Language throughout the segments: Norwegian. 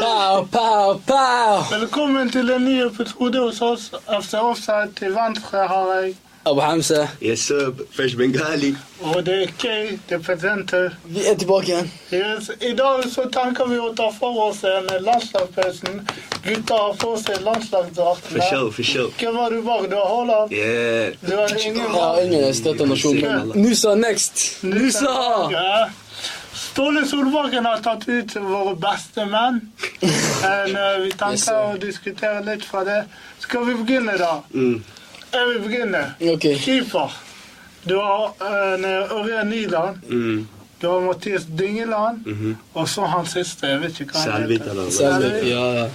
Pow, pow, pow! Velkommen til en ny episode hos oss. FC Offside til venstre har jeg. Abu Hamse, يا شاب فاش بنغالي Og det er Kay, det er presenter. vi er tilbake igjen. Yes. I dag så tenker vi å ta for oss en landslagspausen. Gutta har på seg في landslagsdraktene. الشو في الشو Hvem var du var? Du har Haaland. يا Du har ingen Ja, ingen støtter nasjonen. Nusa next! Nusa! Ja. Ståle Solbakken har tatt ut våre beste menn. Men eh, vi Yes, tenker sir. å diskutere litt fra det. Skal vi begynne, da? Mm. Jeg vil begynne. Ok. Keeper. Du har uh, Ørjan Nyland. Mm. أمم. Du har Mathias Dyngeland. Mhm. Og så han siste. Jeg vet ikke hva han سالبيت انا والله. Selvig. Ja, ja.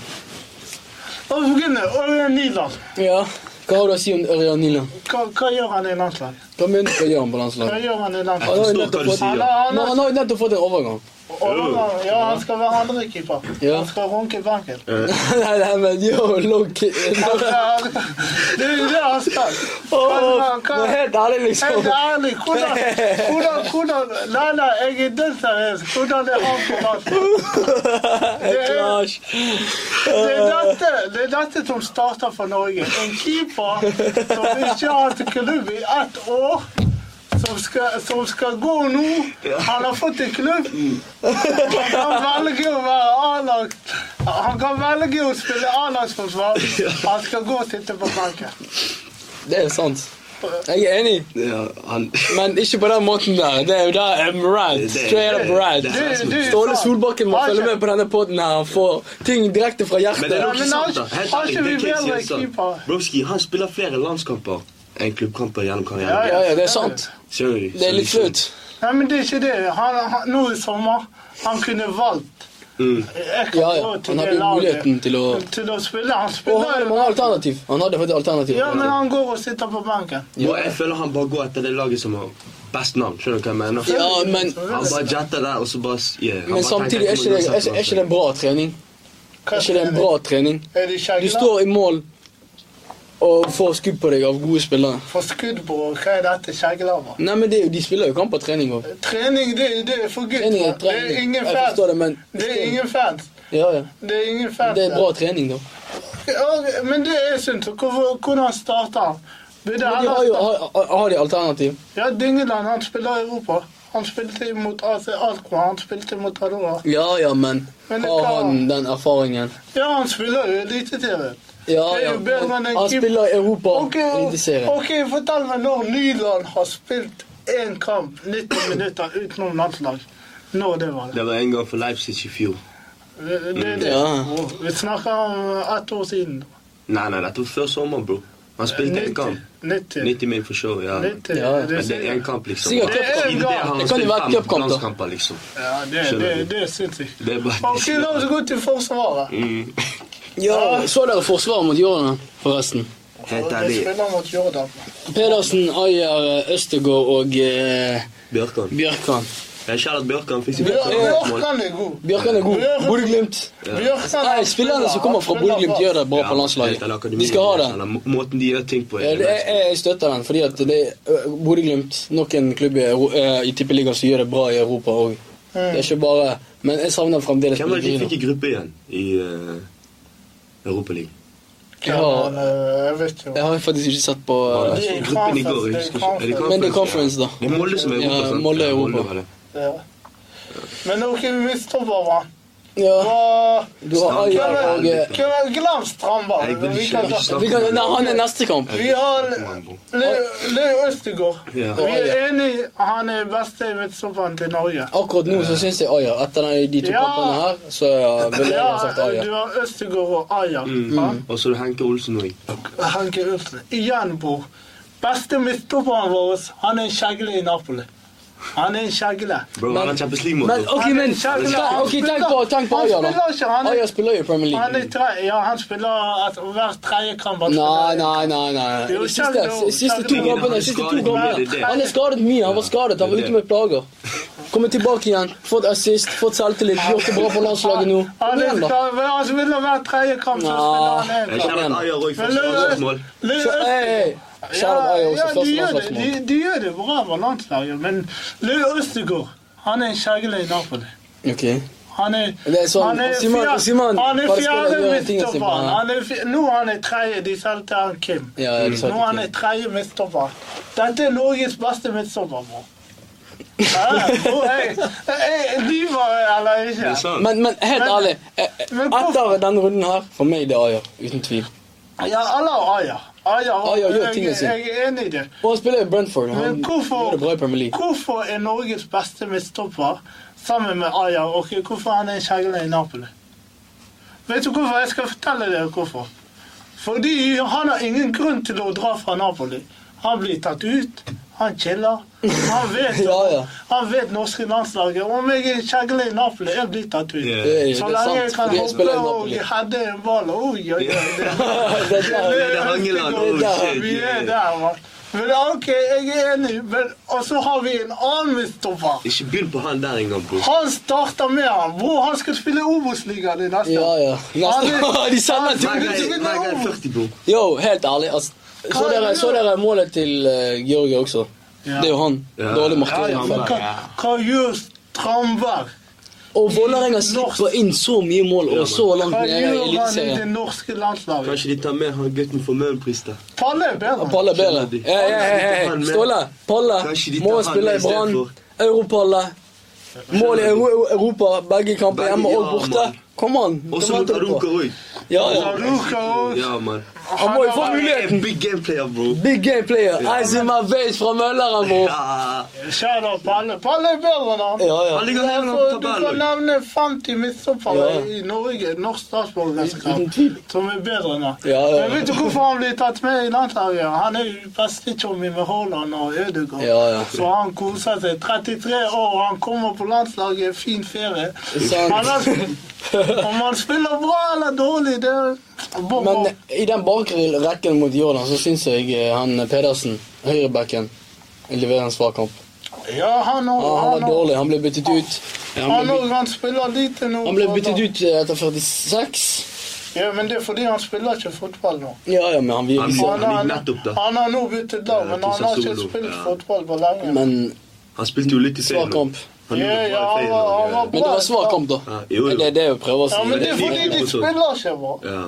Og vi begynner. Ørjan Nyland. Ja, hva har du å si om Ørjan Nyland? Hva, hva gjør han i landslaget? Hva mener du hva gjør han på Hva landslaget? gjør han i Jeg Hallo, landslaget? forstår hva nettopp du på- Han sier. har, han Nå, har, han har jo nettopp fått en overgang. overgang. ja, han skal være andrekeeper. Ja. Han skal runke benken. Nei, nei, men yo, look Det er jo det han skal. Hva- hva- Men helt ærlig, liksom. Helt ærlig, hvordan, hvordan, hvordan Nei, nei, jeg er dødt seriøs. Hvordan det har på plass? Det er, Æsj. det, er dette, det er dette som starter for Norge. En keeper som ikke har hatt klubb i ett år. Som skal, som skal gå nå. Han har fått en klubb. Han kan velge å være A-lag. Han kan velge å spille A-lagsforsvar. Han skal gå og sitte på benken. Det er sant. Jeg er enig, يا عن- men ikke på den måten der. Det er jo der um, rant. Det- Straight up rant. det- Du- du- Ståle Solbakken må følge med på denne podden her. Han får ting direkte fra Men det er hjertet. jo men ikke han- sant, da. Helt han er ærlig, ikke det er vi ikke bedre helt sant. keeper. Broski, sånn. han spiller flere landskamper enn klubbkamper gjennom Ja, karrieren. Ja, ja, det er sant. Skjønner du? Det er litt Så liksom- flaut. Nei, men det er ikke det. Han, han, nå i sommer Han kunne valgt. Mm. Jeg kan Ja, ja. gå til Han det hadde laget. muligheten til å Til å spille. Han Og han spiller han jo. har alternativ. Han hadde faktisk alternativ. Ja, men han går og sitter på benken. Og jeg føler han bare går etter det laget som har best navn. Skjønner du hva jeg mener? Ja, men, Han bare jetter der, og så bare s- yeah, han men bare samtidig tenker, er ikke, det, jeg kommer er, ikke- er ikke uansett det en bra trening. Hva Er ikke det en mener bra trening? Er de kjegler? Du står i mål og får skudd på deg av gode spillere. For skudd på Hva er dette? Skjegglaver? Nei, men det, er jo- De spiller jo kamper trening òg. Trening, det, det er for Trening er gutter. Det er trening. ingen Jeg forstår fans. det, men Det er ingen fans. ja, ja. Det er ingen fans. Det er bra trening, da. Ja, men det er sunt. Hvorfor- Hvordan starter han? Burde Men han de ha har, jo, har, har- har de alternativ? Ja, Dyngeland, han spiller i Europa. Han spilte mot AC Alkmaar, han spilte mot Adora. Ja ja, men Men det har kan- han den erfaringen? Ja, han spiller jo Eliteserien. Ja Det er ja. jo bedre enn en Han keeper. spiller i Europa Ok, Eliteserien. ok, fortell meg når Nyland har spilt én kamp 90 minutter utenom landslag. Når det var det. Det var en gang for Leipzig i fjor. det, det, det. Ja. Vi snakker om ett år siden. Nei, nei, dette var før sommer, bro. Han spilte en kamp. 90. 90 min for show, ja. 90. Ja, ja. Det, Men det er en er- kamp, liksom. Sikkert Det er cupkamp. en gang. Det kan jo Han være har spilt fem cupkamp, da. landskamper, liksom. ja, det, det, det er sinnssykt. Det er bare Ok, la oss gå til Forsvaret. Mm. Ja, Så dere forsvaret mot Jordan, forresten? Helt Og de ærlig. spiller mot Jordan. Pedersen, Ayer, Østegård og eh, Bjørkan. Bjørkan. Jeg kjære at Bjørkan fikk sitt Bjør- første mål. Bjørkan er god. Bjørkan er god. Bjørkan- Bodø-Glimt. Bjørkan Nei, spillerne som kommer fra Bodø-Glimt, gjør det bra på landslaget. helt ærlig, akademiet, De skal ha det. eller Måten de gjør ting på. Ja, er det- Jeg, jeg støtter den, fordi at det ø, Bodø-Glimt, nok en klubb i, Euro- ø, i tippeligaen som gjør det bra i Europa òg. Det er ikke bare Men jeg savner fremdeles Hvem var det de fikk Pellegrino. i gruppe igjen i uh, Europaligaen? Ja, men, eh, jeg vet jo. Jeg har faktisk ikke sett på Var ø, det det er gruppen i går? conference, det Jeg er husker ikke. Er conference. Men det er conference, da. Det er Molde som er i Europa, Ja, sant? Molde er i Ja, Europa. var det. Ja. Men ok, vi står bare. eh, Ja, Hva- du har Hvem Ayer er- og ø, hvem er Glem Strandberg? Jeg vil Vi ikke- kan jeg vil ikke ta- snakke. vi kan, nei, Han er neste kamp. Vi har Leo Leo Østegård. Ja. Vi er enige han er beste midtstopperen til Norge. Akkurat nå så syns jeg Ayer. Etter de- de to Ja. kampene her, så ø, ville jeg Ja, ha sagt du Ayer. har Østegård og Aja. Mm. Og så er det Henke Olsen òg. Henke Ulsen. Igjen, bror. Beste midtstopperen vår, han er en kjegle i Napoli. Han er en kjegle. Bro, han har Champions Men League-mål. ok, men ta- ok, tenk på, tenk på Han Ayer, spiller ikke, han da. er- Ayer spiller jo i Premier Han League. er tre, ja, han spiller at hver tredje kamp han Nei, spiller. nei, nei. nei. Det er jo De siste, kjempe- de siste to kjempe- kampene. de Siste to kampene. Han er skadet mye. Han var skadet. Han var ute med plager. Kommer tilbake igjen. Fått assist, fått selvtillit. Gjort det bra på landslaget nå. Kom Han, er, igjen, da. skal- han spiller hver tredje kamp, så Nei. spiller han Jeg én kamp. kjenner at Ayer òg Men fikk sitt Lø- andre mål. Lø- Så, eh, hey, hey. Kjære Ja, Ayo, ja, som de første gjør det- landslagsmål. de- de gjør det bra på landslaget, men Løe Østegård han er en kjegle i Napoli. Ok. Han er, Det er sånn, han er, Simon- fjerde- Simon, han er bare skal fjerde gjøre ting og Simon, midtstopper. ja. Han er fj- Nå han er tredje. De solgte han Kim. Ja, ja, de solgte Nå han Kim. er tredje midtstopper. Dette er Norges beste midtstopper, bror. Ja, bror, jeg, jeg lyver eller Det ikke. er sant. Men, men helt Men- ærlig, eh, men eh, hvorfor- etter denne runden her, for meg det er Ayer, uten tvil. Ja, alle har Aya. Aya, Aya gjør jeg, tingene sine. jeg er enig i det. Og han spiller i Brentford. Han Men gjør det bra i Premier hvorfor, League. hvorfor er Norges beste midtstopper sammen med Aya, og hvorfor han er en kjegle i Napoli? Vet du hvorfor? Jeg skal fortelle dere hvorfor. Fordi han har ingen grunn til å dra fra Napoli. Han blir tatt ut, han chiller. Han vet, Ja, ja. han vet norske landslaget. Om jeg er en kjegle i Napoli, jeg blir tatt ut. Yeah. Det er, det er Så lenge jeg sant, kan fordi han hoppe spiller i og Napoli. hadde en ball Oi, oi, oi. det- Det er der- det er Hangeland. Vi er Oh, der, shit, vi er yeah. der, mann. Men OK, jeg er enig, men og så har vi en annen midtstopper. Ikke begynn på han der engang, bror. Han starter med han. Hvor han skal spille Obos-ligaen altså. i neste Ja, ja. Han Neste, er- de sender til Hver Men det er ikke gang hver gang noe. 40, bror. Yo, helt ærlig, altså. Så Hva dere, gjør- så dere målet til eh, Georgia også? Ja. Det er jo han. Ja. Dårlig Ja, ja, men markering. hva, hva gjør Strandberg? Og Vålerenga slipper inn så mye mål, og så langt Hva nede i gjør han i Eliteserien. det norske landslaget? Kanskje de tar med han gutten for Møhlenpris, da. Palle er bedre. Palle er bedre. Skjønner de. Ja, ja, ja, ja. Ståle, Palle Kanskje de tar må han spille i i stedet Brann. for. Europalle. Mål i Euro- Europa, begge kamper Begge, hjemme og ja, borte. mann. Kom an. Og så hva mot venter du på? Aruka òg. Ja, ja. Aruka òg. Ja, mann. Han må jo få har- muligheten. Big gameplayer, bror. Big game player. Eyes in my face fra Mølleren, bror. Ja. Shout out Palle. Palle er bedre enn han. Ja, ja. Han ligger høyere Så på Du kan tabellen. nevne 50 midtstoppere Ja. i Norge, norsk Uten statsborgerskap, tvil. som er bedre enn han. Ja, ja. Men vet du hvorfor han blir tatt med i landslaget? Han er jo bestekompis med Haaland og Ødegaard. Ja, ja. Så han koser seg. 33 år, han kommer på landslaget, fin ferie. Sant. Han har- om han spiller bra eller dårlig, det er bom, bom. Men eh, i den bakre rekken mot Jordan så syns jeg eh, han Pedersen, høyrebacken, leverer en svak kamp. Ja, han òg. Ah, han var òg. dårlig. Han ble byttet ut. Han Han ble, òg, han spiller lite nå. byt- han ble byttet ut eh, etter 46. Ja, men det er fordi han spiller ikke fotball nå. Ja, ja, men han Han viser må- Han har, gikk nettopp, da. han har nå byttet lag, Ja, men han har ikke Sassuolo, spilt ja. fotball på lenge. Men, Han spilte jo litt i Svak kamp. Han gjorde Ja, det ja, bra i han var- han var Feyenoord. men det var svak kamp, da. Ja, jo, jo. Det er det jeg prøver å ja, si. men det er Men fordi det er de litt- spiller ikke bra. Ja.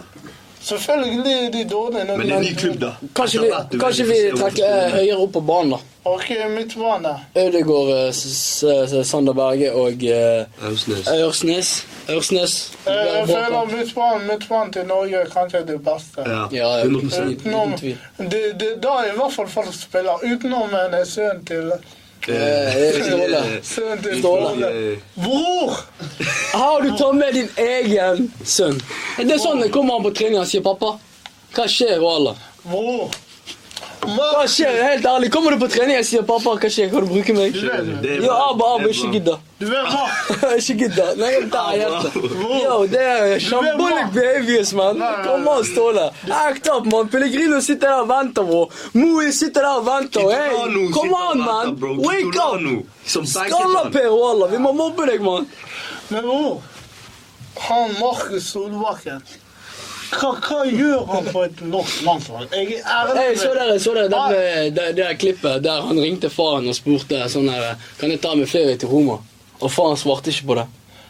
Selvfølgelig er de dårlige når Men det er en ny klubb, da. eh, Kanskje vi, Etter hvert, du vet kanskje ikke vi se hvordan trekker eh, det er. høyere opp på banen, da. Ok, midtbane. Ødegaard, eh, S- S- Sander Berge og eh, Ausnes. Aursnes. Aursnes. Eh, Jeg Bra føler kamp. midtbanen midtbanen til Norge er kanskje det beste. Ja, Ja, eh, ja. 100 Utenom, Uten tvil. det, det, da er i hvert fall folk spiller. Utenom en sønn til Eh, Erik Ståle. Sønn til Ståle. Ståle. Bror! Har du tatt med din egen sønn? Det er sånn det kommer han på trening og sier 'pappa'. Hva skjer, Walla? Bror! Hva skjer, helt ærlig? Kommer du på trening og sier 'pappa', hva skjer? Kan du bruke meg? Yo, Abba, Abba, ikke gidd, da. Du vet hva? Ikke gidd, da. Nei, jeg tar hjertet. Yo, det er shambolic behaviors, man. Kom an, Ståle. Act up, man. Pellegrino sitter der og venter, bro. Moi sitter der og venter. Hey, come on, man. Wake up. Som Skalla, banket han. Per Walla. Vi må mobbe deg, mann. Men bror, han Markus Solbakken hva, hva gjør han på et norsk landslag? Jeg er ærlig Hey, så dere, så dere Ah. det, med, det, det der klippet der han ringte faren og spurte sånn her Kan jeg ta med flere til Roma? Og faren svarte ikke på det.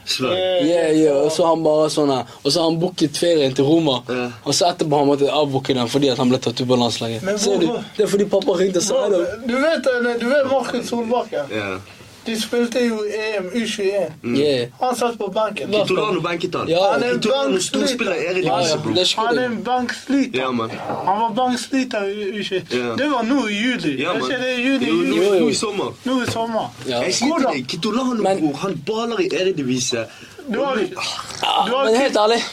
Slag. Yeah, yeah. Og så han bare sånn her Og så har han booket ferien til Roma, Ja. og så etterpå har han måttet avbooke den fordi at han ble tatt ut på landslaget. Men Ser du? hvorfor? Det er fordi pappa ringte og sa det. Du vet, eh, du vet Markus Solbakken? Ja. De spilte jo E EM U21. Mm. Yeah. Han satt på benken. Ja. Torano banket han. Ja. Han er en Torano storspiller i banksliter. Ja, ja. Eredivisie, bror. Det er ikke Han er det. en banksliter. Ja, mann. Han var banksliter i U21. Ja. Det var nå i juli. Ja, Er mann. ikke det i Jo, juli? nå- Jo, jo. Nå i sommer. Nå i sommer. Ja. Jeg sier til Hvordan? deg, Kitolano, Men- bror, han baler i Eredivisie. Du har, Ja, du har men helt ærlig,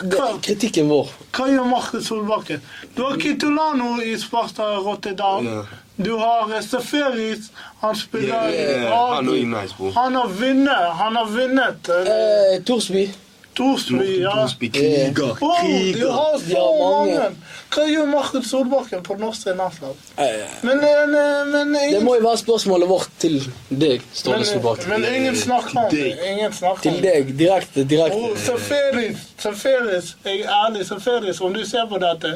det hva, er kritikken vår. Hva gjør Markus Solbakken? Du har Kitolano i Sparta Rotterdam. Ja. Du har eh, Safaris. Han spiller Ja, ja, i ja. Han er Agder. jo nice, bror. Han har vunnet. Han har vunnet eh, Eh, Torsby. Torsby. Ja. Torsby, kriger, Wow, du kriger. har så Ja, mange. mange! Hva gjør Markus Solbakken på norsk landslag? Eh, Men, eh, men, det ingen, må jo være spørsmålet vårt til deg, Ståle men, Solbakk. men ingen snakker om det. Deg. Ingen snakker Til om det. deg, direkte, direkte. Og Safaris, Safaris, jeg er ærlig, Safaris, om du ser på dette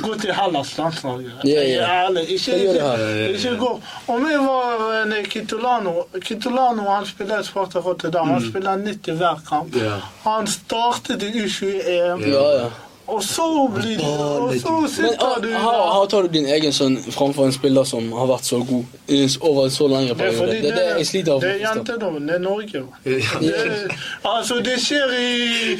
gå til Hallands landslag. Ja, ja. Jeg er ærlig. Ikke, Det gjør det ikke, her. ja, ja. ikke gå. Om jeg var en Kitolano Kitolano han spiller i Sparta Rotterdam. Mm. Han spiller 90 hver kamp. Ja. Han startet i U20-EM. Ja, ja. Og så blir det Og så Men sitter du ah, her, her tar du din egen sønn framfor en spiller som har vært så god i s- over en så lang Det er periode. fordi Det er det jeg sliter av. det er jentedommen. Det er Norge. jo. Ja. Det, altså, det skjer i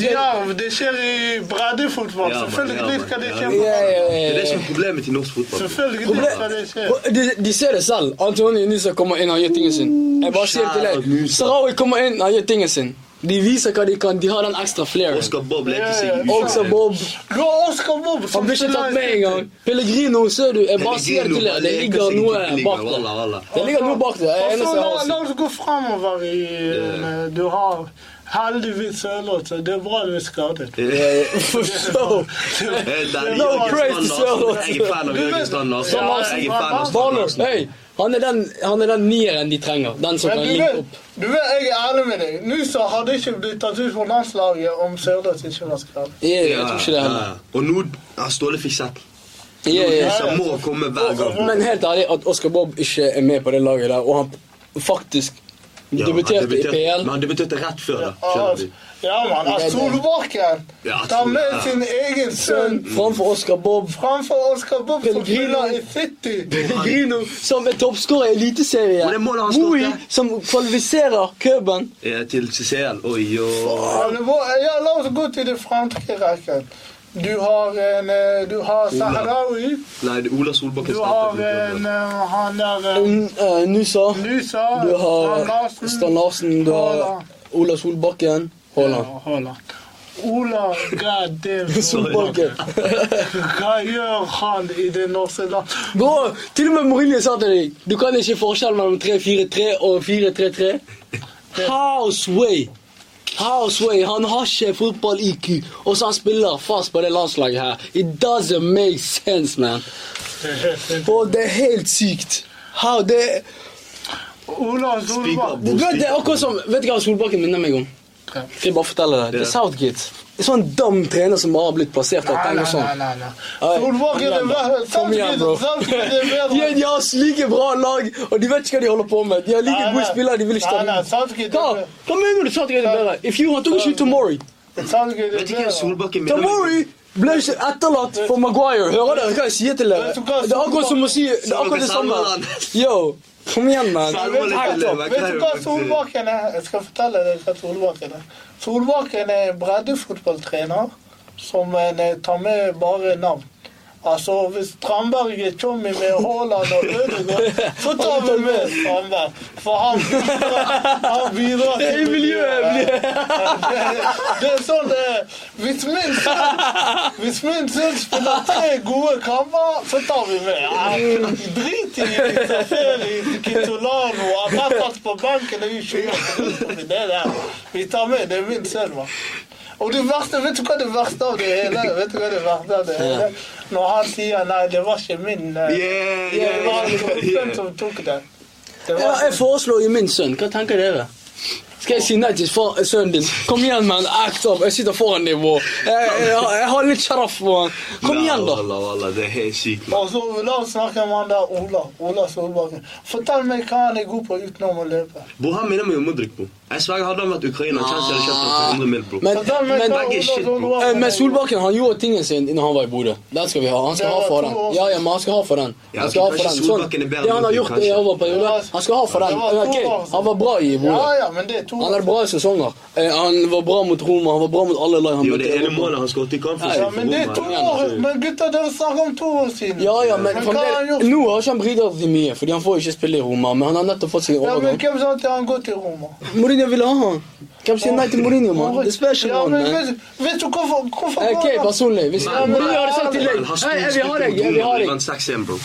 Diav, det skjer i breddefotball. Ja, men- ja, Selvfølgelig men- skal det ja, skje men- på Ja, ja, Det ja, er det ja. som er problemet til norsk fotball. Selvfølgelig Problem- skal det skje. De, de ser det selv. Antony Nisa kommer inn og gjør tingen sin. Jeg bare sier til deg. Sarawi kommer inn og gjør tingen sin. De viser hva de kan. De har den ekstra flairen. Oscar Bob legger seg Ja, i ja. Også Bob. Du har Oscar Bob Han som blir ikke spiller tatt i med engang. Pellegrino, ser du. Jeg bare sier til deg. Det ligger noe bak Walla, der. walla. Det ligger noe bak der. Jeg er Og så eneste jeg nou, la, har la sett. oss gå framover i eh, Du har heldigvis Sørloth, så det er bra du er skadet. For show. Eh, der er No Jørgen praise Strand Larsen. Jeg er to Sørloth. fan av Du Jørgen vet- Strand Larsen. Som Larsen. Jeg er fan av Strand Barnum, Larsen. hei! Han er den, han er den nieren de trenger. Den som Men kan du linke vet, opp. du vet, jeg er ærlig med deg. Nusa hadde ikke blitt tatt ut på landslaget om Sørloth ikke var skadet. Jeg, jeg Ja, tror ikke det ja. heller. Og nå har Ståle fikk sett. Jeg, jeg, Nusa må komme hver gang. Men helt ærlig, at Oscar Bob ikke er med på det laget der, og han faktisk Ja, han debuterte i debuterte- PL Men han debuterte rett før det. skjønner du. altså- Ja, mann. at Solbakken Ja, at tar med Solbakken. sin egen sønn Sønn Mm. framfor Oscar Bob. framfor Oscar Bob, som Pellegrino. spiller i City. Pellegrino som er toppskårer i Men det Eliteserien. er målet han Moi skårte. som kvalifiserer cuben. Eh, Til CCL. Oi, og Ja, det var- Ja, la oss gå til det franske rekken. Du har en eh, Du har Sahrawi. Nei, det er Ola Solbakken Du har startet. en eh, Han der eh, N- eh, Nusa. Nusa. Du har Strand Larsen. Stan Larsen. Du har Haaland. Ola Solbakken. Haaland. Ja, Haaland. Ola god damn Solbakken. Hva gjør han i det norske land? Bro, til og med Mourinho sa til deg Du kan ikke forskjellen mellom 3-4-3 og 4-3-3. Houseway. Houseway, han har ikke fotball-IQ, og så han spiller fast på det landslaget her. It doesn't make sense, man. Oh, Og det er helt sykt. How det Ola Speaker Solbakken. Du vet, det er akkurat som Vet du hva Solbakken minner meg om? Skal jeg bare fortelle deg? Det er Southgate. En sånn dum trener som bare har blitt plassert der. Nei, Tenk nei, og sånn. nei, nei, nei. Oi, Solbakken er kom igjen, da. verre. Kom igjen, bro. Solbakken er De, verre. de har slike bra lag, og de vet ikke hva de holder på med. De har like Nei, gode nei. spillere, de vil ikke ta Nei, nei, dem Southgate ut. Hva? er- Hva mener du Southgate er bedre? If you want to shoot Tomori Solbakken er Vet ikke hvem verre. Solbakken minner meg om? Tomori ble ikke etterlatt for Maguire. Hører dere hva jeg sier til dere? Vet du hva, Det er akkurat som å si Det er akkurat det samme. Yo, kom igjen, man. Salve Vet du litt til hva- det, vet du hva men- Solbakken er? Jeg skal fortelle deg hva Solbakken er. Solbakken er en breddefotballtrener som en eh, tar med bare navn. Altså, hvis Strandberg er Tjommi med Haaland og Ødegaard, så tar vi med Strandberg. For han bidrar, han bidrar Det er i miljøet, blir- Det, det er sånn det er. Hvis min sønn hvis min sønn spiller tre gode kamper, så tar vi med. Ja, Drit i Saferi, Kitolano, at han satt på benken i 20 år. Det der. Vi tar med. Det er min sønn, hva. Og det verste, vet du hva det verste av det hele Vet du hva det verste av det hele? Når han sier 'nei, det var ikke min' eh, Yeah, Det yeah, var yeah, Ruben yeah. som tok den. Det Ja, var jeg foreslår jo min sønn. Hva tenker dere? Skal jeg si nei til far- sønnen din? Kom igjen, man. Act up. Jeg sitter foran deg, bro. Jeg, jeg, jeg har litt sjaraf på han. Kom Nei, igjen, da. Walla, walla, det er helt sykt. man. Og så Altså, La oss snakke om han der Ola. Ola Solbakken. Fortell meg hva han er god på utenom å løpe. Bro, han minner meg om Modric, bro. Jeg sverger, hadde han vært ukrainer, Chelsea hadde kjøpt ham for 100 mil, bro. Ah. Men, Fortell meg men, hva begge er Ola shit, bro. eh, Solbakken men er god på. Solbakken han gjorde tingen sin når han var i Bodø. Den skal vi ha. Han skal Det ha var for to den. år Ja, ja, men han skal ha for den. Ja, Han skal ha kanskje for den. Solbakken Sånn. er bedre Det han enn har Modric, gjort i kanskje. overperioden, han skal ha for Det den. var to Ok, år siden. Han var bra i Ja, Bodø. ja, men det er to Han hadde bra sesonger. Eh, Han var bra mot Roma, han var bra mot alle lag. han Jo, møtte det i ene Europa. målet han skåret i kampen Ja, Ja, sin men det er to for Roma. år Men gutter, dere snakker om to år siden. Ja, ja, men, hva har han fremdeles- gjort? Nå har ikke han bidratt så mye, fordi han får ikke spille i Roma. Men han har nettopp fått seg en Ja, men overgang. Hvem sa at han går til Roma? Mourinho ville ha han. Hvem sier nei til Mourinho, mann? Det spør ikke ja, noen, men mann. eh, vet, vet du hvorfor, hvorfor går Ok, han- personlig. Hvis Men- Mourinho hadde sagt til deg Han Hei, jeg vil ha storspilte deg, mot jeg vil ha Roma, de deg. vant 6-1, bro.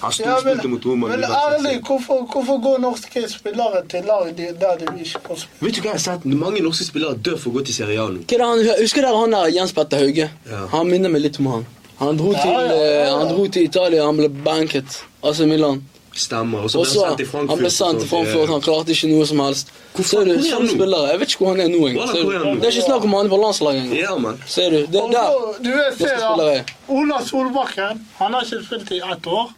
Han ja, men, storspilte mot Roma. men de vant 6-1. ærlig, hvorfor, hvorfor går norske spillere til lag de- der de ikke får spille? Vet du hva jeg har sett? Mange norske spillere dør for å gå til Serie A nå. Hva er det han- Husker dere han der Jens Petter Hauge? Ja. Han minner meg litt om han. Han dro Ja, til, ja, ja, eh, ja. han dro til Italia, han ble banket. Altså Milan. Stemmer. Og så Og ble han så sendt til Frankfurt. Han ble sendt til og sånt. Ja. Frankfurt, han klarte ikke noe som helst. Hvor Ser faen- du, hvor er han sånne nå? spillere. Jeg vet ikke hvor han er nå engang. Hvor er Ser han- hvor er du? han nå? Det er ikke snakk om han er på landslaget engang. Ja, mann. Ser du, det Og der. så, du vet, Neste se da. spiller er- Ola Solbakken, han har ikke spilt i ett år.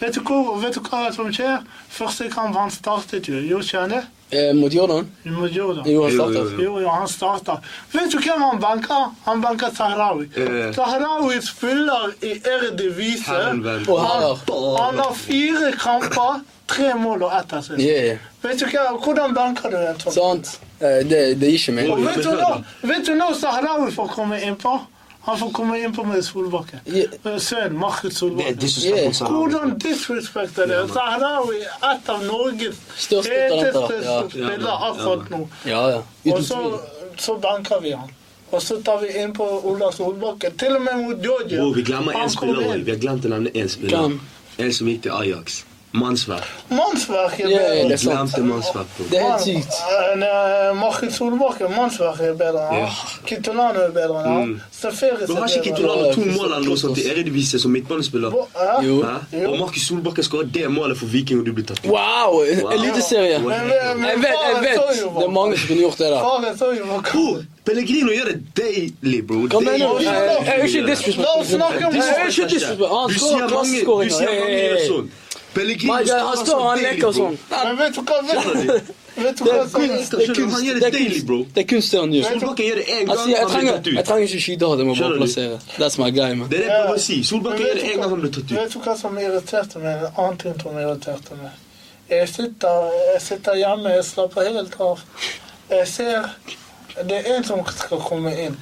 Vet du, hvor, vet du hva som skjer? Første kamp han startet jo, jo kjenner Eh, Mot Jordan? du må gjøre det. Jo, han Jo, jo, starter. Jo, jo, han starter. Vet du hvem han banker? Han banker Sahrawi. Eh. Sahrawi spiller i Eredivisie. Helvete. Og her, da. Han har fire kamper, tre mål og ett assist. Yeah. Vet du hva, hvordan banker du den, Tom? Sant? Eh, Det, det gir ikke meg. Og vet du nå, vet du nå Sahrawi får komme innpå? Han får komme innpå med Solbakken. Ja. Med Sønnen Markus Det er Solbakken. disrespect Yeah. mot Sahrawi. Hvordan disrespekter det? Sahrawi er et av Norges Største talenter, ja. spillere akkurat nå. Ja, ja. Og Uten tvil. så, så banker vi han. Og så tar vi inn på Ola Solbakken. Til og med mot Georgia. Bro, vi glemmer én Han kom spiller også. inn. Vi har glemt å nevne én spiller. Hvem? En som gikk til Ajax. Mannsverk. Mannsverk Ja, er ja, bedre. det er sant. Glemte Mannsverk, bro. Det er helt sykt. Han, eh, Markus Solbakken, Mannsverk er bedre enn Ja. han. Kitolano er bedre enn han. Mm. Safaris Du er har ikke bedre enn han. Kitolano to mål eller noe sånt i Eredivisie som midtbanespiller? Bo- eh? Jo. Hæ? Og Markus Solbakken skårer det målet for Viking, og du blir tatt ut. Wow! Eliteserie. Wow. Men, men, men Jeg vet, jeg faren vet. så jo Det er mange som kunne gjort det der. Faren så jo hva Bro, Pellegrino gjør det deilig, bro. Hva mener du? Deilig. Jeg jeg er jo ikke disrespect. La oss snakke om Jeg er jo det. ikke disrespect. Han Du skårer sier mange du klasseskåringer. sier mange gjør sånn. Pellegrino Michael, han skårer står og han deilig, leker bro. sånn. Nei, Men vet du hva? Vet, vet du Det hva er som kunst. Det er kunst. Han gjør Det det er deilig, bro. kunst, det er kunst det han gjør. Solbakken gjør det én Han gang, sier, jeg han blir trenger, tatt jeg ut. trenger ikke skytehardt, jeg må Skjønner bare du? plassere. That's my guy, man. Det er det jeg prøver å si. Solbakken gjør det én gang, han blir tatt ut. Vet du hva som irriterte meg? En annen ting som irriterte meg. Jeg sitter, jeg sitter hjemme, jeg slapper helt av. Jeg ser Det er en som skal komme inn.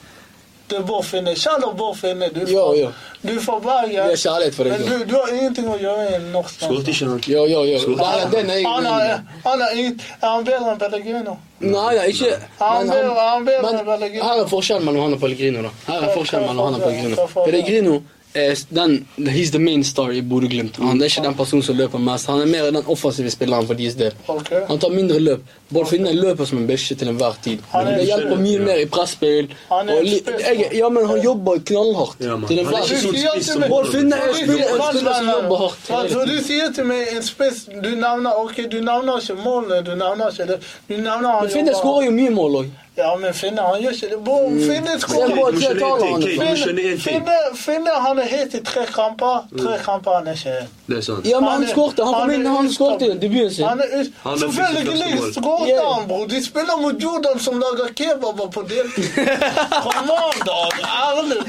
Det er Bård Finne. Kjell og Bård Finne, du Jo, får, jo. Du får Bergen. Det er kjærlighet for deg, Men du, du har ingenting å gjøre i en norsk Skåret ikke han? Yo, yo, yo. Skåret. Nei, den er jeg Han uenig i. er, han er, ingen- er han bedre enn Pellegrino? Nei, nei, ikke Han men ber- han ber men med Pellegrino. Her er forskjellen mellom han og Pellegrino. da Her er Hva- forskjellen hva er mellom han og forskjellen? Pellegrino Hva er Pellegrino er s- den He's the main star i Bodø-Glimt. Han er ikke den personen som løper mest. Han er mer den offensive spilleren for deres del. Ok. Han tar mindre løp. Bård Finne løper som en bikkje til enhver tid. Han er- Det hjelper mye Ja. mer i presspill. Han er og li- spiss. jeg- Ja, men han jobber knallhardt. Ja, mann. Til Han er enhver ikke tid. sånn spiss som Bård Finne er en Så spiller en spiller som jobber hardt. Altså, du sier til meg en spiss Du nevner ok, du nevner ikke målene, du nevner ikke det Du nevner han Men Finne Mm. jobber- skårer jo mye mål òg. Ja, men Finne, han gjør ikke det. Bo, Finne Se på skårer. at Du skjønner Kate en ting, Allen- Kate, du skjønner Finne, en ting. Finne, Finne, han er helt i tre kamper. Tre Mm. kamper han er ikke helt. Det er sant. Ja, men han er- skårte. Han kom er inn, han ut- skårte i debuten sin. Han er ut. Han er Selvfølgelig fysisk skåret Ja. han, bror. De spiller mot Jordan som lager kebaber på deltid. Kom an, da. Ærlig.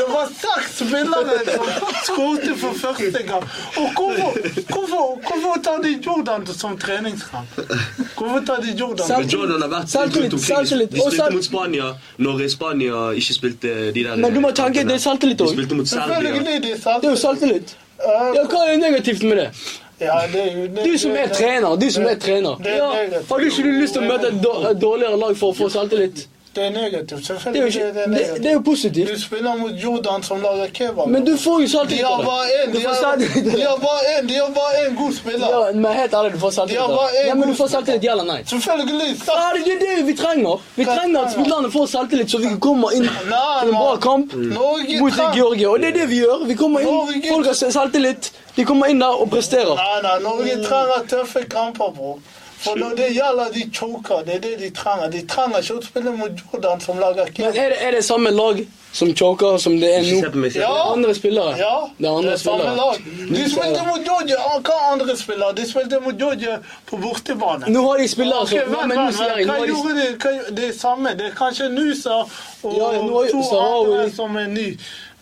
Det var seks spillere som skårte for første gang. Og hvorfor, hvorfor, hvorfor tar de Jordan som treningskamp? Hvorfor tar de Jordan? Selv- Men Jordan har vært Selvtillit, rundt omkring. selvtillit. De Og spilte selv- mot Spania når Spania ikke spilte de der Men du må tenke, det er selvtillit De også. spilte mot Serbia. Selvfølgelig de Det er jo selvtillit. Ja, hva er negativt med det? Ja, det er jo Du som er trener, du som er trener. Det er Ja, negativt. har du ikke du lyst til å møte et dår- et dårligere lag for å få selvtillit? Det er negativt. Det er jo, Selvfølgelig ikke, det er det, negativt. det er jo positivt. Du spiller mot Jordan som lager kebab. Men du får jo De selvtillit har av bare én det. Du de får har- selvtillit de av det. har bare én- de har bare én god spiller. Ja, men helt ærlig, du får selvtillit Ja, av hva det. er Ja, men du får selvtillit, ja eller nei? Selvfølgelig. Ja, sa- det det er det vi trenger. Vi Hva trenger at trenger? spillerne får selvtillit, så vi kommer inn Nei, til en bra mann. kamp Norge mot trenger- Georgia. Og det er det vi gjør. Vi kommer inn, Norge- folk har selvtillit, de kommer inn der og presterer. Nei, nei, Norge Mm. trenger tøffe kamper, bror. For når det gjelder de choker, det er det de trenger. De trenger ikke å spille mot Jordan som lager Men kebab. er det, er det samme lag som choker som det er Ikke se på nå? meg, se på Det er Ja. andre spillere. Ja, det er andre samme spillere. lag. De spilte mot Georgia. Ah, Hva andre spillere? De spilte mot Georgia på bortebane. Nå har de spillere Ok, som vent, Nei, men nå vent, sier jeg, Hva nå har de- gjorde de? Hva, gjorde- det er samme. Det er kanskje Nusa og Ja, ja, nå er- to så har andre vi- som er ny.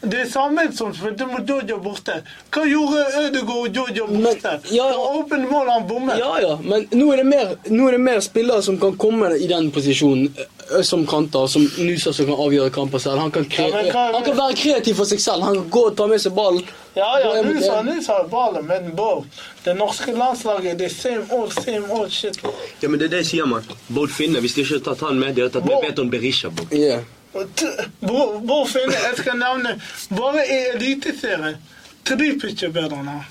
Det er samme som spilte mot Georgia borte. Hva gjorde Ødegaard og Georgia Men- borte? ja, ja. Det var åpent mål han bommet. Ja, ja, men nå er, det mer, nå er det mer spillere som kan komme i den posisjonen ø, som kanter, som Nusa som kan avgjøre kamper selv. Han kan, kre Ja, men hva- han kan være kreativ for seg selv. Han kan gå og ta med seg ballen. Ja, Gå ja, en mot Nusa, en. Nusa er ballen, men bro, det norske landslaget, det er same old, same old shit. Ja, men det er det jeg sier, mann. Bård Finne, hvis de ikke har tatt han med, de har tatt med Beton Berisha, bro. Ja. Og t- Bror, bror Finne, jeg skal nevne Bare i Eliteserien Tripic er bedre enn han.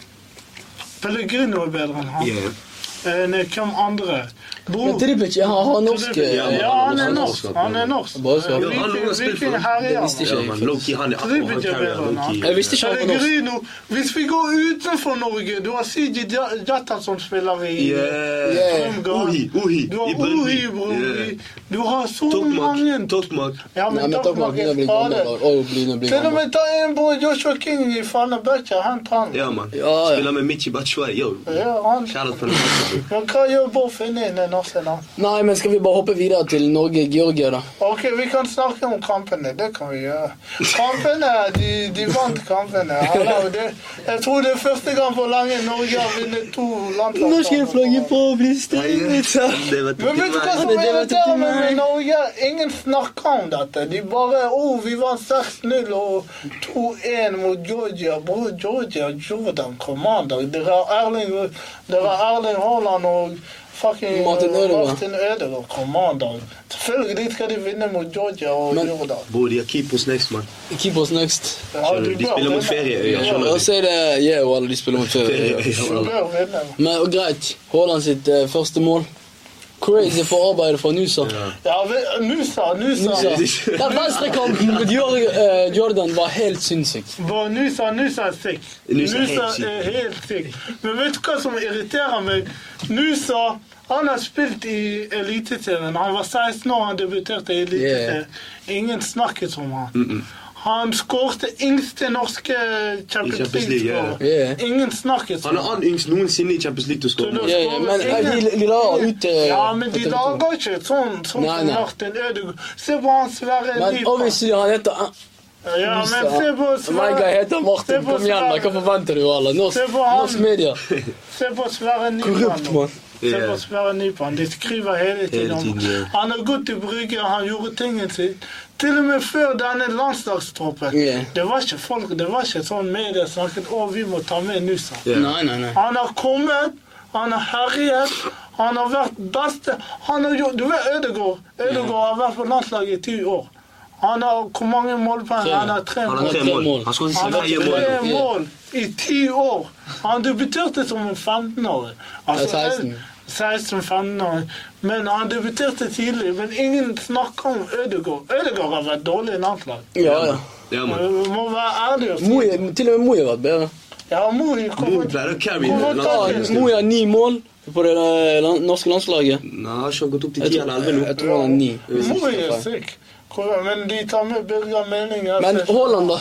Pellegrino er bedre enn han. Yeah. Eh, Nei, hvem andre? Men Tripic, ja, han har norsk eh, Ja, Ja, han er norsk. Han er norsk. Bare så. Hvilken- Ja, han har noe å spille for. Hvilken herre er Det visste han? ikke Ja, jeg, men faktisk. Loki, han er Tripic han er carrier bedre enn han. Loki. Jeg visste ikke han var norsk. Pellegrino. Hvis vi går utenfor Norge Du har Sidi Dja- Djata som spiller i Yeah. Yeah. Strømgard. Uhi, Uhi, Du har i Brøndby. Uhi, bror. Yeah. Du har så Tokmak. mange Tokmak. Ja, Nei, men men Tokmak Tokmak begynner er å bli gammel. skadet. da. Å, begynner å bli Til og gammel. med ta en bror, Joshua King i Fanebøkja. Han tar han. Ja, mann. Ja, ja. Spiller med Michi Batshuayi. Yo. Ja, han. Kjærlighet for den. Men hva gjør Boff inni den norske land? Nei, men skal vi bare hoppe videre til Norge-Georgia, da? Ok, vi kan snakke om kampene. Det kan vi gjøre. Kampene, de, de vant kampene. Eller, det, jeg tror det er første gang på lenge Norge har vunnet to landslag. på å bli Det vet Men vet du hva som Det- det vet ikke irriterer meg meg. med Norge? Ingen snakker om dette. De bare Å, oh, vi vant 6-0 og 2-1 mot Georgia. Bror, Georgia Jordan Commander. Dere har Erling, dere har Erling Haaland og fucking Martin Ødegaard. Martin Ødegaard Commander. Selvfølgelig skal de vinne mot Georgia og Men- Jordan. Bror, de har keepers next, mann. Keepers next. Ja, du de bør spiller mot vinne. ferieøyer, Ja, skjønner Og så er det Yeah, og alle de spiller mot Færøyene. Du bør vinne. Men og greit, Haaland sitt eh, første mål. Crazy for arbeidet fra Nusa. Ja. Ja, vi- Nusa, Nusa. Nusa. Den venstrekanten mot Jor- eh, Jordan var helt sinnssyk. Vår Nusa, Nusa er sick. Nusa Nusa er helt sick. er helt sick. Men vet du hva som irriterer meg? Nusa han har spilt i Eliteserien. Han var 16 år han debuterte i Eliteserien. Ingen snakket om han. Han skårte yngste norske Champions Champions League, ja. League-skårer. Yeah. Ingen snakket Han om er han. annen yngst noensinne i Champions League til å Så skåre. da- Ja, ja, men eh, de, de la ut eh, Ja, men de etter- lager ikke sånn sånn Nei, som nei. Martin Ødegaard. Se på han Sverre Men Nypan. obviously, han heter eh, Ja, men Nusa. se på Oh My guy Sverre heter Martin. Se på Kom igjen, da. Sverre. Hva forventer du, alle? Se Norsk, på han. norsk media. Se på Sverre Nypan. Korrupt, nå. mann. Se Ja. på Sverre Nypan. De skriver hele tiden om tiden, ja. Han har gått i brygge, han gjorde tingen sin. Til og med før denne landslagstroppen. Ja. Det var ikke folk, det var ikke sånn media snakket å, vi må ta med Nusa. Ja. Nei, nei, nei. Han har kommet, han har herjet, han har vært beste han har gjort, Du vet Ødegaard? Ødegaard har vært på landslaget i ti år. Han har hvor mange målpoeng? Tre. Han har tre Han mål. har tre mål. Han skåret Han sitt har tredje mål. tre. tre mål i ti år. Han debuterte som en 15-åring. Ja, 16. 16-15-åring. Men han debuterte tidlig. Men ingen snakker om Ødegaard. Ødegaard har vært dårlig i landslag. Ja, ja. Ja, mann. Man må være ærlig og si Moi, til og med Moi har vært bedre. Ja, Moi Bror kommer pleier å carry Hvorfor tar Ja, Moi har ni mål på det eh, lan- norske landslaget. Nei, har ikke han gått opp til Jeg 10 eller tror, 11 nå? jeg tror han er ni. hvis Moi jeg ikke er tar feil. syk. Hvor- Men de tar med Birger Meling. altså. Men Haaland, da.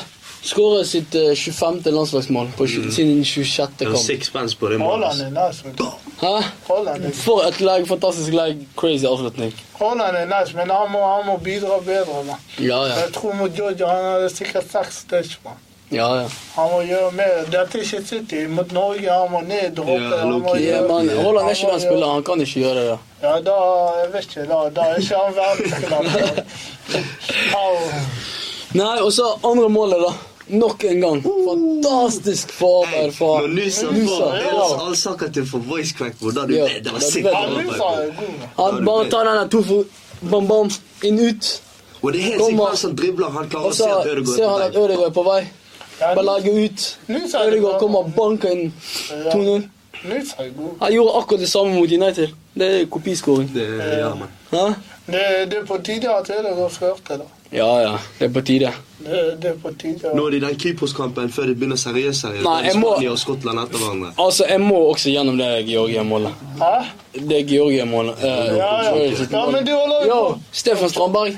Skårer sitt eh, 25. landslagsmål på Mm. tj- sin 26. Jeg har kamp. seks pence på det. altså. mann. Haaland er nice. vet du. Hæ? Haaland er For et lag, fantastisk lag. Crazy avslutning. Haaland er nice, men han må, han må bidra bedre. Man. Ja, ja. Jeg tror mot Georgia han hadde sikkert seks stitch. Man. Ja, ja. Han må gjøre mer. Dette er ikke City. Mot Norge han må ned og Ja, hoppe. han må Loki. Ja, gjøre- man, Haaland er han ikke må den spilleren. gjøre- Han kan ikke gjøre det. der. Ja, da jeg vet ikke. Da, da er ikke han verdensklasse. Au. Nei, og så andre målet, da. Nok en gang. Fantastisk forarbeid fra Når Nusa Nusa. får Ja. all saken altså til for voice crack, bror, da er du Ja. med. Det var Da er du sikkert. med. Han Nusa er god. man. Han bare tar den der to fot Bam, bam. Inn, ut. Og det er helt Kommer. sikkert han som dribler. Han klarer Og å så se at Ødegaard ser han er at på vei. Ødegaard er på vei. Ja, Bare legger ut. Nusa er Ødegaard bra. kommer og banker inn 2-0. Nusa er god. Han gjorde akkurat det samme mot United. Det er kopiskåring. Det, ja, man. Hæ? Det, det er på tide at Ødegaard førte, da. Ja, ja. Det er på tide. Det, det er på tide. Nå er det den Kypros-kampen før de begynner seriøst. seriøst. Nei, jeg må- Spania og Skottland etter hverandre. Altså, jeg må også gjennom det Georgia-målet. Hæ? Det Georgia-målet. eh, Ja, ja. Georgia-målet. Ja, men de holder jo Yo, på. Stefan Strandberg.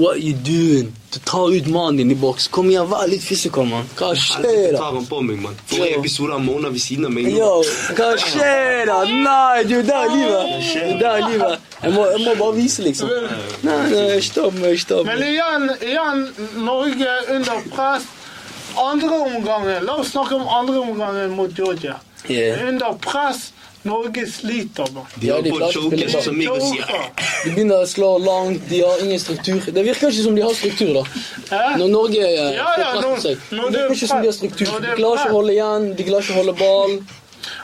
What you doing? Du tar ut mannen din i boks. Kom igjen, vær litt fysikal, mann. Hva Helvete skjer, da? tar han på meg, mann. Forrige Ja. episode han måned ved siden av meg. nå. Yo, hva skjer, da? Nei, du, det er livet. Det er livet. Jeg må, jeg må bare vise, liksom. Nei, nei, stopp meg, stopp Men meg. igjen, igjen Norge er under press. Andre omgangen, La oss snakke om andre omgangen mot Georgia. Yeah. Under press. Norge sliter. Man. De Ja, har de på klarte å spille choken, liksom. ball. sånn som Migos sier. Joker. De begynner å slå langt, de har ingen struktur. Det virker ikke som de har struktur, da. Hæ? Når Norge eh, Ja, ja, får når- presset seg. når Det det er virker ikke som de har press- struktur. når det De er klarer ikke press. å holde igjen, de klarer ikke å holde ball.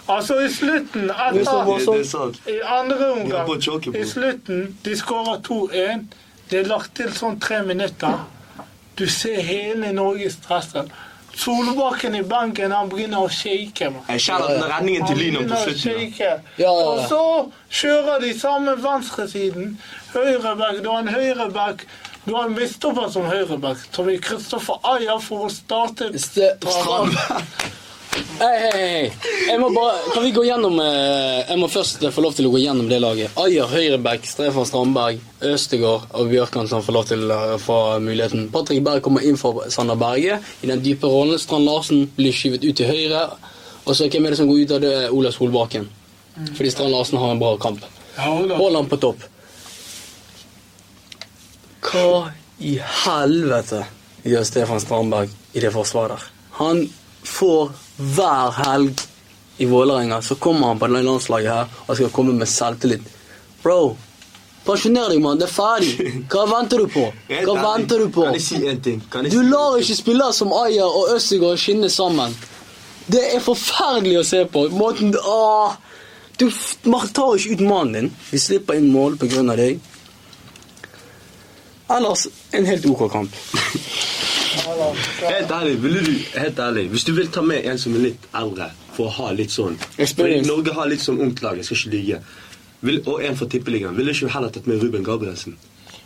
Altså, i slutten Det er sånn- så etter voldsomt. Det det er sant. I andre De har på omgang choker, I bror. slutten, de skårer 2-1. Det er lagt til sånn tre minutter. Du ser hele Norge stresset. Solbakken i banken, han begynner å shake. Man. Jeg kjenner den redningen til Lynam på slutten. Shake. Ja, ja, ja. Og så kjører de samme venstresiden. Høyreback, du har en høyreback. Du har en midtstopper som høyreback, som i Kristoffer Ayer for å starte Ste- Strand. Hei, hei, hei. Jeg må bare, kan vi gå gjennom eh, Jeg må først eh, få lov til å gå gjennom det laget. Ayer, Høyrebekk, Stefan Strandberg, Østegård og Bjørkan som får lov til eh, å få muligheten. Patrick Berg kommer inn for Sander Berge i den dype rollen. Strand Larsen blir skyvet ut til høyre. Og så hvem er det som går ut av det? Ola Solbakken. Fordi Strand Larsen har en bra kamp. Ja, Ola. Haaland på topp. Hva i helvete gjør Stefan Strandberg i det forsvaret der? Han får hver helg i Vålerenga, så kommer han på det landslaget her og skal komme med selvtillit. Bro, pensjoner deg, mann. Det er ferdig. Hva venter du på? Helt Hva ærlig, venter du på? Kan jeg si en ting? Kan jeg Du si- lar ikke spillere som Ayer og Øzegård skinne sammen. Det er forferdelig å se på. Måten Åh! Du f- man tar ikke ut mannen din. Vi slipper inn mål pga. deg. Ellers en helt OK kamp. Helt ærlig, ville du, helt ærlig, hvis du vil ta med en som er litt eldre, for å ha litt sånn Experience. Fordi Norge har litt sånn ungt lag, jeg skal ikke lyve. Vil, og en fra tippeligaen. Ville ikke du heller tatt med Ruben Gabrielsen?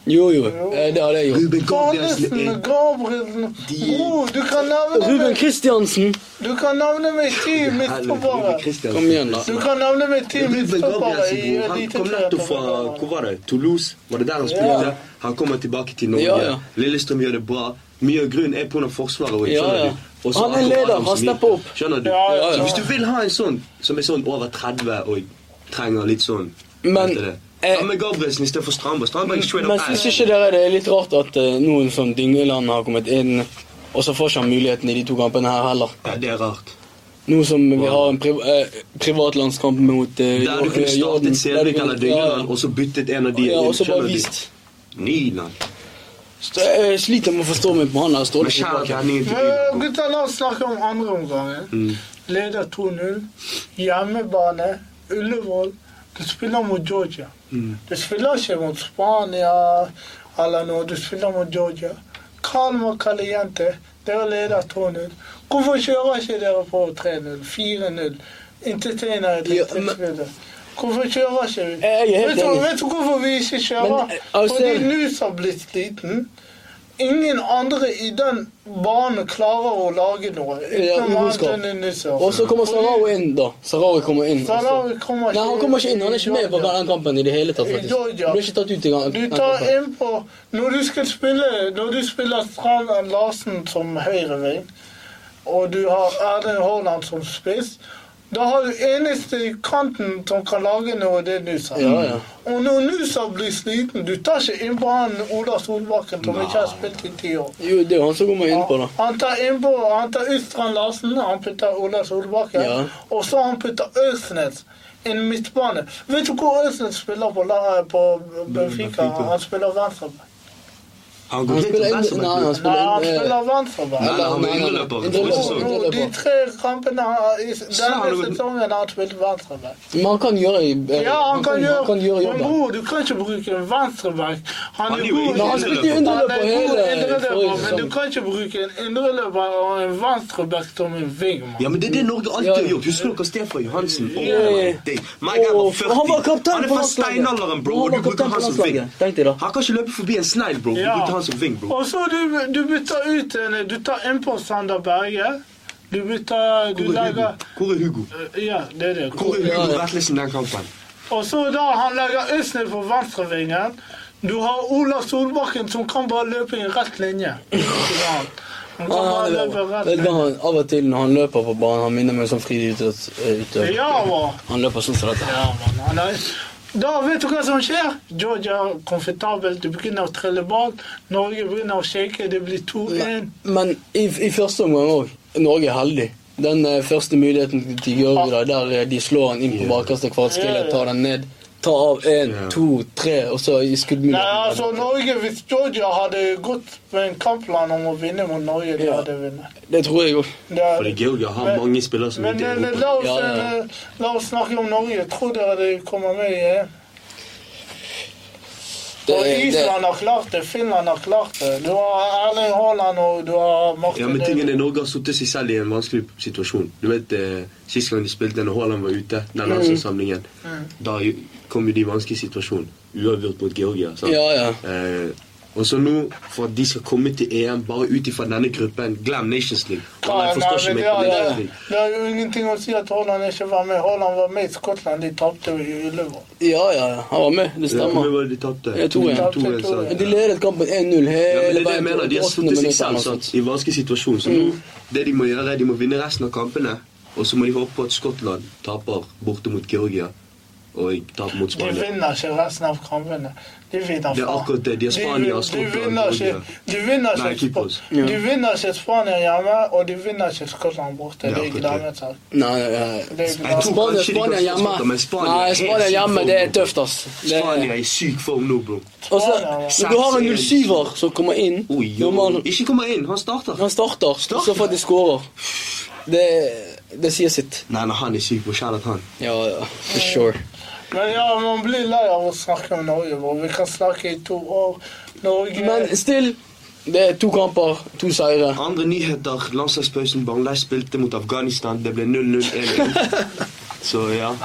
Jo, jo. eh, Det hadde jeg gjort. Ruben Gabrielsen Barnesen, er Gabrielsen De- Bro, du kan navne Ruben meg Kristiansen. Du kan navne meg ti Helvete, Ruben midtstoppere. Christiansen. Kom igjen, da. Du kan navne meg ti Ruben midtstoppere Gabrielsen, i e bror, han kom nettopp fra Eliteserien. hvor var det? euh, Toulouse? Var det der han spilte? Han kommer tilbake til Norge. Ja, ja. Lillestrøm gjør det bra. Mye av grunnen er pga. Forsvaret. også, Ja, skjønner ja. du? Og så Han er Arthur leder, Adams som han gikk stepper der. opp. Skjønner du? Ja, ja, ja. Så Hvis du vil ha en sånn som er sånn over 30 og trenger litt sånn Men, etter det. eh, Ta med Gabrielsen istedenfor Strandberg. Strandberg er straight Men up syns ass. ikke dere det er litt rart at eh, noen som Dyngeland har kommet inn, og så får ikke han muligheten i de to kampene her heller? Ja, det er rart. Nå som vi har en priv eh, privat landskamp mot eh, Der du kunne eh, Jordan, startet der du Sævik kunne- eller Dyngeland, ja, og så byttet en av de Ja, inn, og så bare skjønner du? vist. Nyland. Så jeg sliter med å forstå meg på han der Ståle Men kjære Solbakken. redningen til Men, Nyland. Eh, Gutta, la oss snakke om andre omgangen. Mm. Leder 2-0. Hjemmebane. Ullevål. Du spiller mot Georgia. Mm. Du spiller ikke mot Spania eller noe. Du spiller mot Georgia. Calma Caliente. Dere leder 2-0. Hvorfor kjører ikke dere på 3-0? 4-0? Entertainer i Ja, dette men- spillet. Hvorfor kjører ikke vi? Jeg er helt Vet du, enig. vet du hvorfor vi ikke kjører? Men, eh, altså- Fordi Nus har blitt sliten. Ingen andre i den banen klarer å lage noe. Ja, utenom Rosenborg. Anthony Nusser. Og så kommer Sarao inn, da. Sarao kommer inn. og så- Sarrawi kommer Nei, han kommer ikke inn. Han er ikke med på den kampen i det hele tatt, faktisk. Georgia. Han Ble ikke tatt ut i gang. Du tar inn på Når du skal spille Når du spiller Strand Larsen som høyreving, og du har Erling Haaland som spiss, da har du eneste i kanten som kan lage noe, det er Nusa. Ja, ja. Og når Nusa blir sliten Du tar ikke inn på han Ola Solbakken som ikke har spilt i ti år. Jo, det er jo han som kommer inn på, da. Han tar innpå, han tar ut Strand Larsen, han putter Ola Solbakken, Ja. og så han putter Øsnes. En midtbane. Vet du hvor Øsnes spiller på, la- på Benfica? Benfica. Han spiller venstreback. Han Han går helt spiller til inn- Nei, han venstreback. Nei, han spiller inn eh, spiller venstreback. Nei, han var nei, nei, nei. indreløper forrige Indreløper. sesong. Nå, nå, De Indreløper. tre kampene han- i har denne du- sesongen har han spilt venstreback. Men han kan gjøre eh, Ja, han kan han kan gjøre gjøre Men jobben. bror, du kan ikke bruke en venstreback. Han Han er er jo god ingen- Men han spilte jo Han er indreløper god hele indreløper, forrige men du sesong. kan ikke bruke en indreløper og en venstreback som en vingmann. Ja, men det er det Norge alltid Ja, ja. har gjort. Husker dere Stefan Johansen? Åh, Ja, ja. dang. My guy var Åh, 40. han var kaptein Han er på fra landslaget. steinalderen, bro. Han Og var du bruker kaptein han på som ving. landslaget. Tenk deg da. Han kan ikke løpe forbi en snegl, bro. Du Ja. bruker han som ving, bro. Og så du, du bytter ut en Du tar inn på Sander Berge. Du bytter Hvor Du er Hugo? legger Hvor er Hugo? Ja, det er det. Hvor er Ja, Hugo ja. Vetlesen den kampen? Og så da han legger Øsne på venstrevingen. Du har Ola Solbakken som kan bare løpe i en rett linje. Han kan Ah, Han, bare han, løpe i rett vet du hva, linje. han, av og til når han løper på banen, han minner meg om sånn friidrettsutøver. Ja, hva? Han løper sånn som dette. Ja, man, han er... Da vet du hva som skjer. Georgia er komfortabelt. Du begynner å trille ball. Norge begynner å shake. Det blir 2-1. Men i, i første omgang òg. Norge er heldig. Den eh, første muligheten til Ah. Georgia da, der eh, de slår han inn på bakerste kvartskille, tar den ned, tar av én, to, tre, og så i Nei, altså skuddmuligheten. Norge, Hvis Georgia hadde gått med en kampplan om å vinne mot Norge, de Ja. hadde vunnet. Det tror jeg òg. Det er- Fordi Georgia har Men- mange spillere som Men ikke er eh, Europa. la oss, Ja, ja. eh, la oss snakke om Norge. Tror dere de kommer med i EM? Det Og er- det- Island har klart det, Finland har klart det. Du har Erling Haaland og du har Martin Ja, men tingen er Ødegaard. Norge har satt seg selv i en vanskelig situasjon. Du vet, eh, Sist gang de spilte når Haaland var ute, Mm. den landslagssamlingen, da jo- kom jo de i vanskelig situasjon. Uavgjort mot Georgia. sant? Ja, ja. Eh, og så nå, for at de skal komme til EM bare ut ifra denne gruppen Glem Nations League. Ja, Nei, jeg nei, forstår ikke men meg det, på er- Nations det, League. er jo ingenting å si at Haaland ikke var med. Haaland var med i Skottland, de tapte jo i Ullevål. Ja, ja, ja. han var med. Det Ja, Hvor mye stemmer. var det de tapte? Ja, to, ja. To, en sak. Men de ledet kampen 1-0 Ja, men det hele er det jeg mener. De har til 88. satt seg minutt selv eller noe sånt. Mm. sant, i en vanskelig situasjon. Så nå, det de må gjøre, er de må vinne resten av kampene. Og så må de håpe på at Skottland taper borte mot Georgia og taper mot De Spania. vinner ikke resten av kampene. De vinner Det er faen. akkurat det. De er Spania, de, de Skottland, vinner ikke, Norge. de vinner Nei, ikke, Kypros. Sp- de vinner ikke Spania hjemme, og de vinner ikke Skottland borte. Det er Det er akkurat glemmet seg. Nei, nei, Det er nei. glad. Spania, Kanskje de kan Spania slå hjemme. Skottland, men Spania er Nei, helt Spania syk hjemme, form det er nå. tøft, ass. Det Spania er i syk form nå, bro. Og så- men du har en 07-er som kommer inn. Oi, Når man- Ikke kommer inn, han starter. Han starter, og så får de skårer. Det, det sier sitt. Nei, nei, han er syk på kjærlighet, han. Ja, ja. For sure. Men ja, man blir lei av å snakke om Norge, hvor vi kan snakke i to år. Norge Men still, det er to kamper, to seire. Andre nyheter. Landslagspausen. Bangladesh spilte mot Afghanistan. Det ble 0-0-1. Så ja.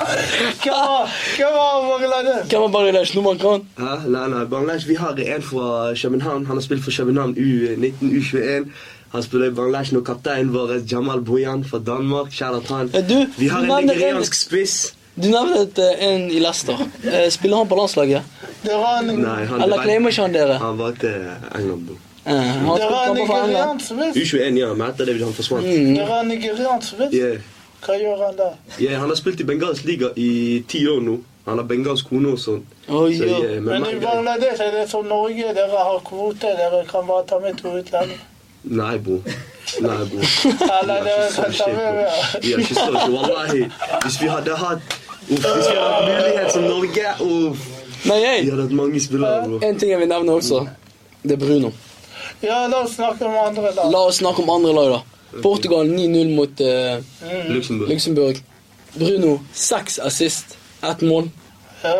Hvem var- hvem var Bangladesh? Hvem er Bangladesh? Nummer kan? Hæ? Nei, nei, Bangladesh. Vi har en fra København. eh, Han har spilt for København U19, U21. Han spiller i Bangladesh når kapteinen vår er Jamal Bojan fra Danmark. Kjære til han. Eh, du, Vi har en men- nigeriansk spiss. Du nevnte eh, en i Leicester. Eh, Spiller han på landslaget? Det var en, Nei, han Eller claimer ikke han dere? Han var til England, bro. Eh, Han det var spiller en kamper for England. nigeriansk vits. U21, ja. Men etter det han forsvant. Det var en nigeriansk vits. Yeah. Hva gjør han der? Yeah, han har spilt i bengalsk liga eh, i ti år nå. Han har bengalsk kone og sånn. Oi, Så, ja. yeah, men Men i meg- Bangladesh er det som Norge, dere har kvote, dere kan bare ta med to utlendinger. Nei, bro. Nei, bro. Eller det Jeg kan ta forstår med mer. ikke. Jeg forstår ikke. Wallahi. Hvis vi hadde hatt Uff, hvis vi hadde hatt mulighet som Norge uff. Nei, jeg. Vi hadde hatt mange spillere, bro. En ting jeg vil nevne også. Det er Bruno. Ja, la oss snakke om andre land. La oss snakke om andre lag, da. Portugal 9-0 mot eh, Luxembourg. Luxembourg. Bruno seks assist, ett mål. Ja.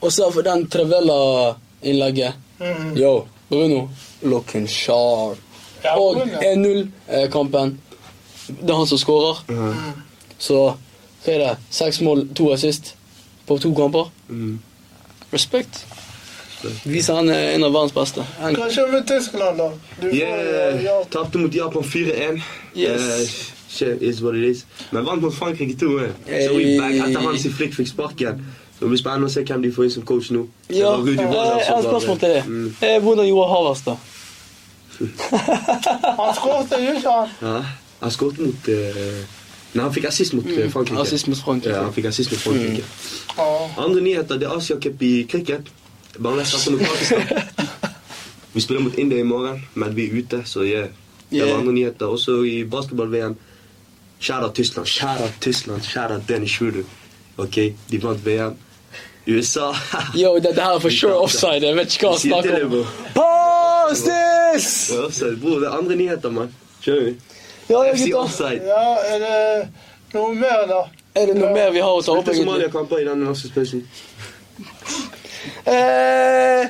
Og så for den Travella-innlegget. Mm. Yo, Bruno looking sharp. Mm. Ja, Og Bruno. 1-0-kampen. Det er han som skårer. Mm. Så hva er det? Seks mål, to assist på to kamper. Mm. Respekt. Viser han er en av verdens beste. Han, Kanskje med Tyskland, da. Du får eh, ja. Yeah. Tapte mot Japan 4-1. Yes. Eh, shit is what it is. Men vant mot Frankrike 2-1. Så we back etter hans i flikt fikk sparken. Så det blir spennende å se hvem de får inn som coach nå. Det ja, var Rudi eh, jeg Voller som har et var- spørsmål til deg. Mm. Eh, Hvordan gjorde Havers, da? Han skårte jo ikke, han. Ja, han skåret mot eh, Nei, han fikk assist mot eh, Frankrike. Mm, Assist mot Mm. Frankrike. Ja, han fikk assist mot Frankrike. Ja. Andre nyheter, det er Asia-cup i cricket. Bangladesh starter mot Pakistan. Vi spiller mot India i morgen, men vi er ute, så yeah. Det var Yeah. andre nyheter. Også i basketball-VM. Kjære Tyskland, kjære Tyskland, kjære Dennis Schruder. Ok, de vant VM. USA Yo, dette her er for sure offside. Jeg vet ikke hva han Sier til deg, snakker om. bro. Postis! Det er offside. Bro, det er andre nyheter, mann. Kjører vi? Ja, ja, FC gutter. offside. ja, er det noe mer, da? Er det noe mer vi har å ta opp? Spilte egentlig? Somalia-kamper i denne landslagspausen. Eh,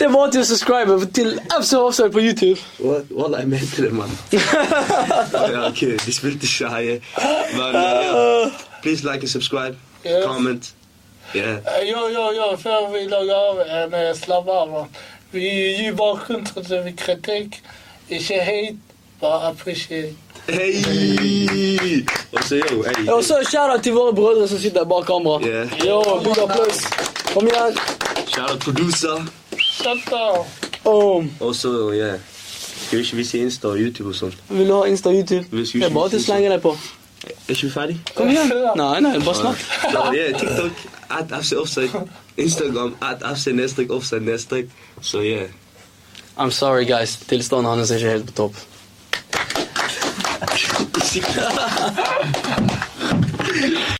det var til å subscribe til FC Offside på YouTube. What? Wallah, jeg mente det, mann. ja, ok, de spilte ikke heie. Men eh, ja. please like and subscribe. Yes. Comment. Yeah. Eh, Jo, jo, jo, før vi lager av en eh, slapp av, da. Vi gir bare konstruktiv kritikk. Ikke hate, bare appreciate. Hei! Og så jo, hei. Og så shout-out til våre brødre som sitter bak kamera. Yeah. Yo, big applaus. Kom igjen. Shout out producer. Shut down. Oh, Og så, yeah. Skal ikke vi se Insta og YouTube og sånn? vil du ha Insta og YouTube? Hvis Det er bare til å slenge deg på. Er ikke vi ferdig? Kom igjen. sånn. Nei, nei, bare snakk. Så, yeah, TikTok at FC Offside. Instagram at FC nedstrek offside nedstrek. Så yeah. I'm sorry, guys. Tilstanden hans er ikke helt på topp. Ikke-